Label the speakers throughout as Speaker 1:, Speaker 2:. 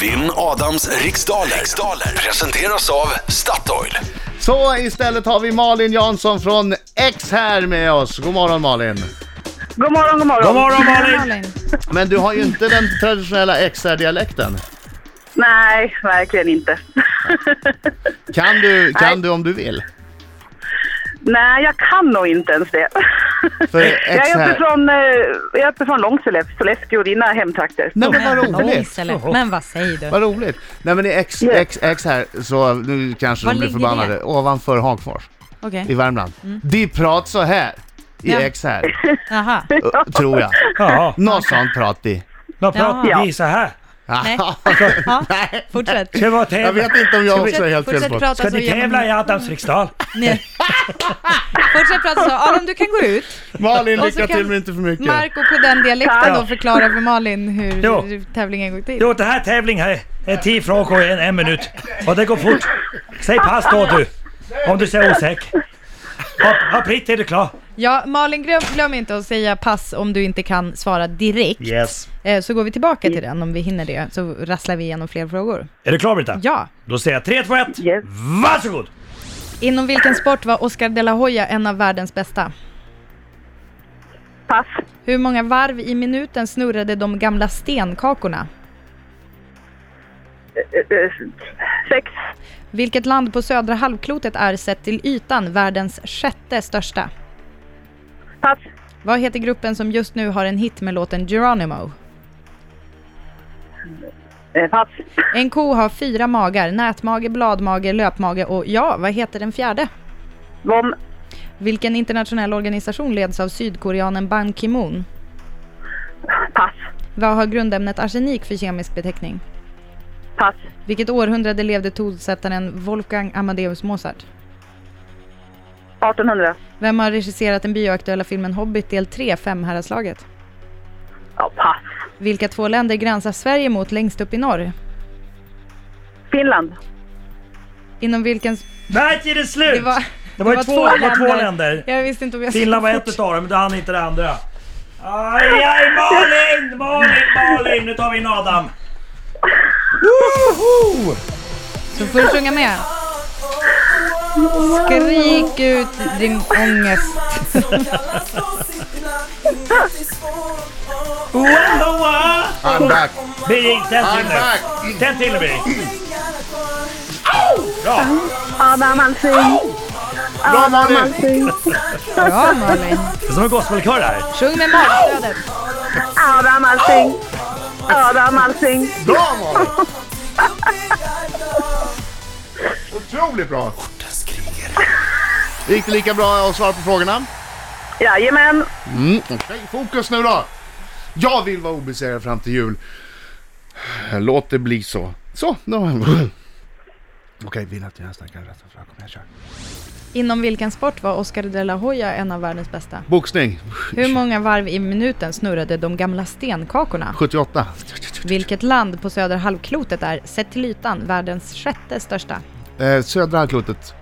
Speaker 1: Vinn Adams riksdaler. riksdaler presenteras av Statoil.
Speaker 2: Så istället har vi Malin Jansson från X här med oss. God morgon Malin.
Speaker 3: God morgon, god morgon.
Speaker 4: God morgon Malin!
Speaker 5: Malin.
Speaker 2: Men du har ju inte den traditionella XR-dialekten.
Speaker 3: Nej, verkligen inte.
Speaker 2: Kan du, kan du om du vill?
Speaker 3: Nej, jag kan nog inte ens det.
Speaker 2: För
Speaker 3: Jag
Speaker 2: X
Speaker 3: är
Speaker 2: här...
Speaker 3: uppifrån, eh, jag är uppifrån Långsele, Sollefteå, dina hemtrakter.
Speaker 2: Nej men vad
Speaker 5: Men
Speaker 2: roligt!
Speaker 5: Långsele. Men vad säger du?
Speaker 2: Vad roligt! Nej men i X,
Speaker 3: Ja.
Speaker 2: X, X här, så nu kanske
Speaker 5: Var
Speaker 2: de blir
Speaker 5: ligger
Speaker 2: förbannade.
Speaker 5: det?
Speaker 2: Ovanför Hagfors
Speaker 5: Okej.
Speaker 2: i Värmland. De pratar så här i
Speaker 5: Ja.
Speaker 2: X här,
Speaker 5: Jaha.
Speaker 2: ö, tror jag.
Speaker 4: Ja,
Speaker 2: Något sånt pratar de.
Speaker 4: då pratar
Speaker 3: Ja.
Speaker 4: vi så här.
Speaker 5: Nej. Ja.
Speaker 2: Nej.
Speaker 5: Fortsätt.
Speaker 4: Ska vi ha
Speaker 2: Jag
Speaker 4: tävla?
Speaker 2: vet inte om jag också är
Speaker 5: Fortsätt,
Speaker 2: helt fel
Speaker 5: fortsätt
Speaker 2: på.
Speaker 5: prata
Speaker 4: Ska
Speaker 5: så
Speaker 4: ni
Speaker 5: gör man-
Speaker 4: tävla i Adams riksdal?
Speaker 5: Nej. Fortsätt prata så. Adam, du kan gå ut.
Speaker 2: Malin,
Speaker 5: Och så
Speaker 2: lycka
Speaker 5: kan
Speaker 2: till men inte för mycket.
Speaker 5: Marco på den dialekten
Speaker 4: Ja.
Speaker 5: då förklara för Malin hur
Speaker 4: Jo.
Speaker 5: hur tävlingen går till.
Speaker 4: Jo, det här tävlingen här är tio frågor och en, en minut. Och det går fort. Säg pass då du, om du är osäker. Ja, ja, Britt, är du klar?
Speaker 5: Ja, Malin, glöm, glöm inte att säga pass om du inte kan svara direkt.
Speaker 4: Yes.
Speaker 5: Eh, Så går vi tillbaka till den om vi hinner det, så rasslar vi igenom fler frågor.
Speaker 4: Är du klar Britta?
Speaker 5: Ja.
Speaker 4: Då säger jag 3, 2, 1.
Speaker 3: Yes.
Speaker 4: Varsågod!
Speaker 5: Inom vilken sport var Oscar de la Hoya en av världens bästa?
Speaker 3: Pass.
Speaker 5: Hur många varv i minuten snurrade de gamla stenkakorna?
Speaker 3: Eh, eh, Sex.
Speaker 5: Vilket land på södra halvklotet är sett till ytan världens sjätte största?
Speaker 3: Pass.
Speaker 5: Vad heter gruppen som just nu har en hit med låten Geronimo?
Speaker 3: Eh, Pass.
Speaker 5: En ko har fyra magar, nätmage, bladmage, löpmage och ja, vad heter den fjärde?
Speaker 3: Vom.
Speaker 5: Vilken internationell organisation leds av sydkoreanen Ban Ki-Moon?
Speaker 3: Pass.
Speaker 5: Vad har grundämnet arsenik för kemisk beteckning?
Speaker 3: Pass.
Speaker 5: Vilket århundrade levde tonsättaren Wolfgang Amadeus Mozart?
Speaker 3: 1800.
Speaker 5: Vem har regisserat den bioaktuella filmen Hobbit del 3, Femherrarslaget?
Speaker 3: Ja, pass.
Speaker 5: Vilka två länder gränsar Sverige mot längst upp i norr?
Speaker 3: Finland.
Speaker 5: Inom vilken...
Speaker 4: Nej, tiden är slut!
Speaker 5: Det var,
Speaker 4: Det var ju två- det var två länder.
Speaker 5: Jag visste inte om jag
Speaker 4: Finland var
Speaker 5: skulle
Speaker 4: ett utav dem, men du hann inte det andra. Aj, aj, Malin! Malin, Malin! Nu tar vi in Adam. Woho!
Speaker 5: Så får du sjunga med. Skrik ut din ångest.
Speaker 4: Oa, oa!
Speaker 2: I'm back,
Speaker 4: Birgit, tänd till
Speaker 2: I'm
Speaker 4: nu.
Speaker 2: back!
Speaker 4: Tänd till nu Birgit.
Speaker 3: Adam Alsing.
Speaker 2: Bra Malin!
Speaker 5: Bra Malin.
Speaker 4: Det är som en gospelkör det här.
Speaker 5: Sjung med magstödet.
Speaker 3: Adam Alsing. Adam Alsing.
Speaker 2: Bra Malin! Otroligt bra! Gick det lika bra att svara på frågorna?
Speaker 3: Jajamän.
Speaker 2: Mm. Okej, fokus nu då! Jag vill vara obesegrad fram till jul. Låt det bli så. Så, nu har jag... Okej, vinna till nästa kan rätta fram. Kom igen, kör.
Speaker 5: Inom vilken sport var Oscar de la Hoya en av världens bästa?
Speaker 2: Boxning.
Speaker 5: Hur många varv i minuten snurrade de gamla stenkakorna?
Speaker 2: 78.
Speaker 5: Vilket land på södra halvklotet är, sett till ytan, världens sjätte största?
Speaker 2: Eh, södra halvklotet.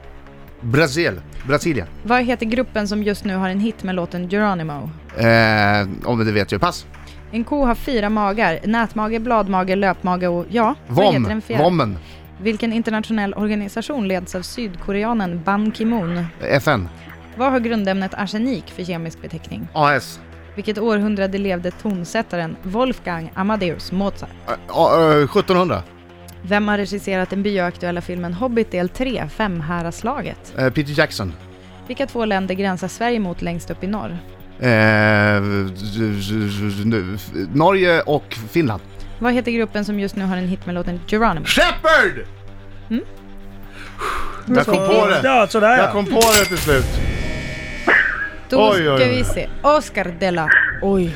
Speaker 2: Brasil. Brasilien.
Speaker 5: Vad heter gruppen som just nu har en hit med låten Geronimo?
Speaker 2: Eh, om det vet jag. Pass.
Speaker 5: En ko har fyra magar, nätmage, bladmage, löpmage och ja, vad heter den
Speaker 2: Vom.
Speaker 5: fjärde?
Speaker 2: Vommen.
Speaker 5: Vilken internationell organisation leds av sydkoreanen Ban Ki-Moon?
Speaker 2: FN.
Speaker 5: Vad har grundämnet arsenik för kemisk beteckning?
Speaker 2: AS.
Speaker 5: Vilket århundrade levde tonsättaren Wolfgang Amadeus Mozart?
Speaker 2: Eh, ah, eh, 1700.
Speaker 5: Vem har regisserat den bioaktuella filmen Hobbit del 3, Femherrarslaget?
Speaker 2: Eh, Peter Jackson.
Speaker 5: Vilka två länder gränsar Sverige mot längst upp i norr?
Speaker 2: Eh, z- z- z- nu- f- Norge och Finland.
Speaker 5: Vad heter gruppen som just nu har en hit med låten Geronimo?
Speaker 2: Shepard! Jag kom på det.
Speaker 4: Ja, sådär
Speaker 2: Jag
Speaker 4: ja.
Speaker 2: kom på det till slut.
Speaker 5: Då
Speaker 2: Oj, oj,
Speaker 5: ska
Speaker 2: oj.
Speaker 5: vi se. Oscar de la... Oj.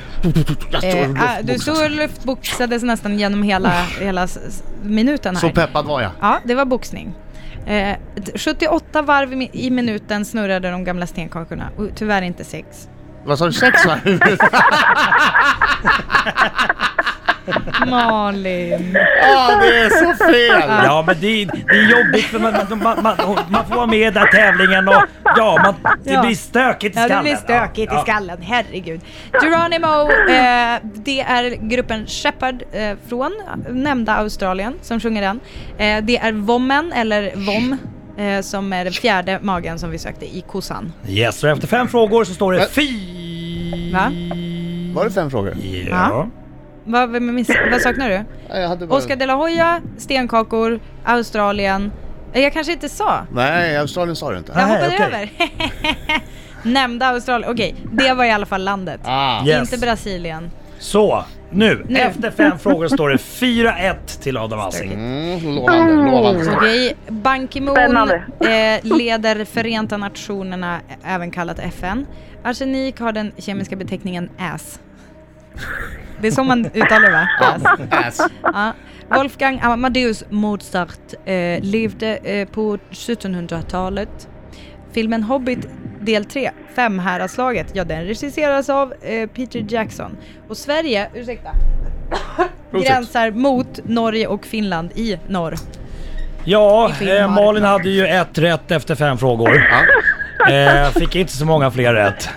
Speaker 5: Eh, ah, du stod och luftboxades nästan genom hela, hela s- s- minuten här.
Speaker 2: Så peppad var jag.
Speaker 5: Ja, det var boxning. Eh, d- 78 varv i mi- i minuten snurrade de gamla stenkakorna. Och Tyvärr inte sex.
Speaker 2: Vad sa du? Sex varv?
Speaker 5: Malin.
Speaker 2: Ja, det är så fel!
Speaker 4: Ja men det är, det är jobbigt för man, man, man, man får vara med i den här tävlingen och ja, man, det
Speaker 5: Ja.
Speaker 4: blir stökigt i
Speaker 5: Ja,
Speaker 4: skallen.
Speaker 5: det blir stökigt i
Speaker 4: Ja.
Speaker 5: skallen. Herregud. Geronimo, eh, det är gruppen Shepard eh, från nämnda Australien som sjunger den. Eh, det är Vommen, eller Vom, eh, som är den fjärde magen som vi sökte i kossan.
Speaker 4: Yes, och efter fem frågor så står det
Speaker 2: Men-
Speaker 4: fy...
Speaker 5: Va?
Speaker 2: Var det fem frågor?
Speaker 4: Ja.
Speaker 5: Ja. Vad, vad miss- vad saknar du?
Speaker 2: Ja, jag hade bara...
Speaker 5: Oscar de la Hoya, stenkakor, Australien. Eh, Jag kanske inte sa.
Speaker 2: Nej, Australien sa du inte.
Speaker 5: Jag
Speaker 4: Nej,
Speaker 5: hoppade
Speaker 4: okej.
Speaker 5: över. Nämnda Australien. Okej, det var i alla fall landet.
Speaker 2: Ah.
Speaker 4: Yes.
Speaker 5: Inte Brasilien.
Speaker 4: Så, nu, efter fem frågor står det 4-1 till Adam Alsing.
Speaker 2: Mm, lovande, lovande.
Speaker 5: Okej, Ban Ki-Moon
Speaker 3: Spännande.
Speaker 5: eh, leder Förenta Nationerna, ä- även kallat FN. Arsenik har den kemiska beteckningen AS. Det är så man uttalar det va? Ass.
Speaker 2: Ass.
Speaker 5: Ja. Wolfgang Amadeus Mozart eh, levde eh, på 1700-talet. Filmen Hobbit del 3, Femhäradslaget, ja den regisseras av eh, Peter Jackson. Och Sverige, ursäkta, gränsar mot Norge och Finland i norr.
Speaker 4: Ja,
Speaker 5: I
Speaker 4: eh,
Speaker 5: Finland.
Speaker 4: Malin hade ju ett rätt efter fem frågor. Eh, fick inte så många fler rätt.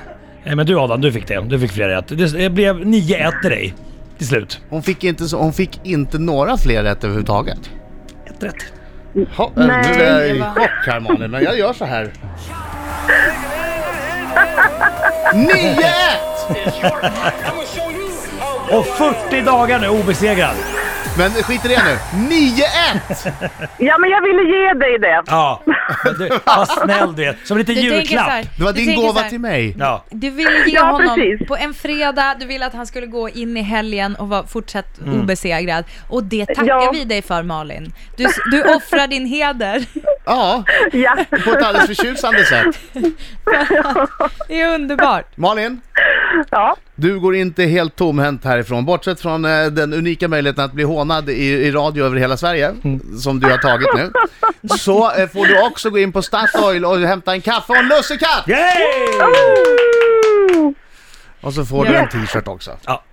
Speaker 4: Eh, men du Adam, du fick det. Du fick fler rätt. Det, det blev 9-1 till dig till slut.
Speaker 2: Hon fick, inte så, hon fick inte några fler rätt överhuvudtaget.
Speaker 4: Ett rätt.
Speaker 2: Ha, Nej, nu är jag i
Speaker 5: Eva.
Speaker 2: chock här Malin, men jag gör så här. 9-1!
Speaker 4: Och 40 dagar nu obesegrad.
Speaker 2: Men skit i det nu. 9-1!
Speaker 3: Ja, men jag ville ge dig det.
Speaker 4: Ja, men du, vad snäll du är. Som en liten
Speaker 5: Du tänker så
Speaker 4: julklapp.
Speaker 5: här,
Speaker 2: Det var
Speaker 5: du
Speaker 2: din
Speaker 5: tänker så
Speaker 2: gåva
Speaker 5: här,
Speaker 2: till mig.
Speaker 4: Ja.
Speaker 5: Du ville ge
Speaker 3: Ja,
Speaker 5: honom
Speaker 3: precis.
Speaker 5: på en fredag, du ville att han skulle gå in i helgen och vara fortsatt
Speaker 4: Mm.
Speaker 5: obesegrad. Och det tackar
Speaker 3: Ja.
Speaker 5: vi dig för Malin. Du, du offrar din heder.
Speaker 2: Ja,
Speaker 3: Ja.
Speaker 2: på ett alldeles förtjusande sätt.
Speaker 5: Det är underbart.
Speaker 2: Malin,
Speaker 3: ja.
Speaker 2: du går inte helt tomhänt härifrån. Bortsett från eh, den unika möjligheten att bli hånad i, i radio över hela Sverige,
Speaker 4: Mm.
Speaker 2: som du har tagit nu, så eh, får du också gå in på Statoil och hämta en kaffe och en lussekatt!
Speaker 4: Yay!
Speaker 2: Och så får du en t-shirt också.
Speaker 4: Ja.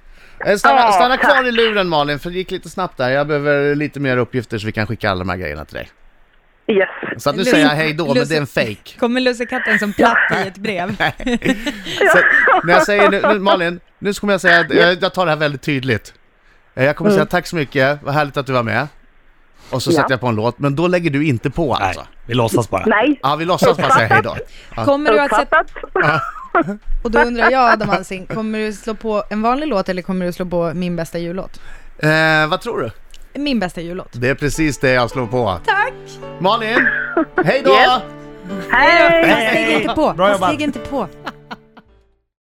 Speaker 2: Eh, Stanna,
Speaker 3: Ja,
Speaker 2: stanna
Speaker 3: tack.
Speaker 2: kvar i luren Malin, för det gick lite snabbt där. Jag behöver lite mer uppgifter så vi kan skicka alla de här grejerna till dig.
Speaker 3: Yes.
Speaker 2: Så att nu
Speaker 5: Lusse-
Speaker 2: säger jag hej då, men
Speaker 5: Lusse-
Speaker 2: det är en fake.
Speaker 5: Kommer lussekatten som platt i ett brev.
Speaker 2: Så, när jag säger nu, nu, Malin, nu så kommer jag säga att eh, jag tar det här väldigt tydligt. Eh, Jag kommer säga tack så mycket, vad härligt att du var med. Och så
Speaker 3: Mm. Ja.
Speaker 2: sätter jag på en låt, men då lägger du inte på
Speaker 4: Nej,
Speaker 2: alltså. Ja,
Speaker 4: vi låtsas bara.
Speaker 3: Nej.
Speaker 2: vi låtsas bara säga hej då.
Speaker 5: Kommer du att sätta,
Speaker 3: Uppfattat.
Speaker 5: och då undrar jag Adam Alsing, kommer du slå på en vanlig låt eller kommer du slå på min bästa jullåt?
Speaker 2: Eh, vad tror du?
Speaker 5: Min bästa jullåt.
Speaker 2: Det är precis det jag slår på.
Speaker 5: Tack!
Speaker 2: Malin, hej då!
Speaker 3: Yes. Hej!
Speaker 5: Fast lägg inte på,
Speaker 4: Bra
Speaker 5: fast
Speaker 4: jobbat.
Speaker 5: lägg inte på.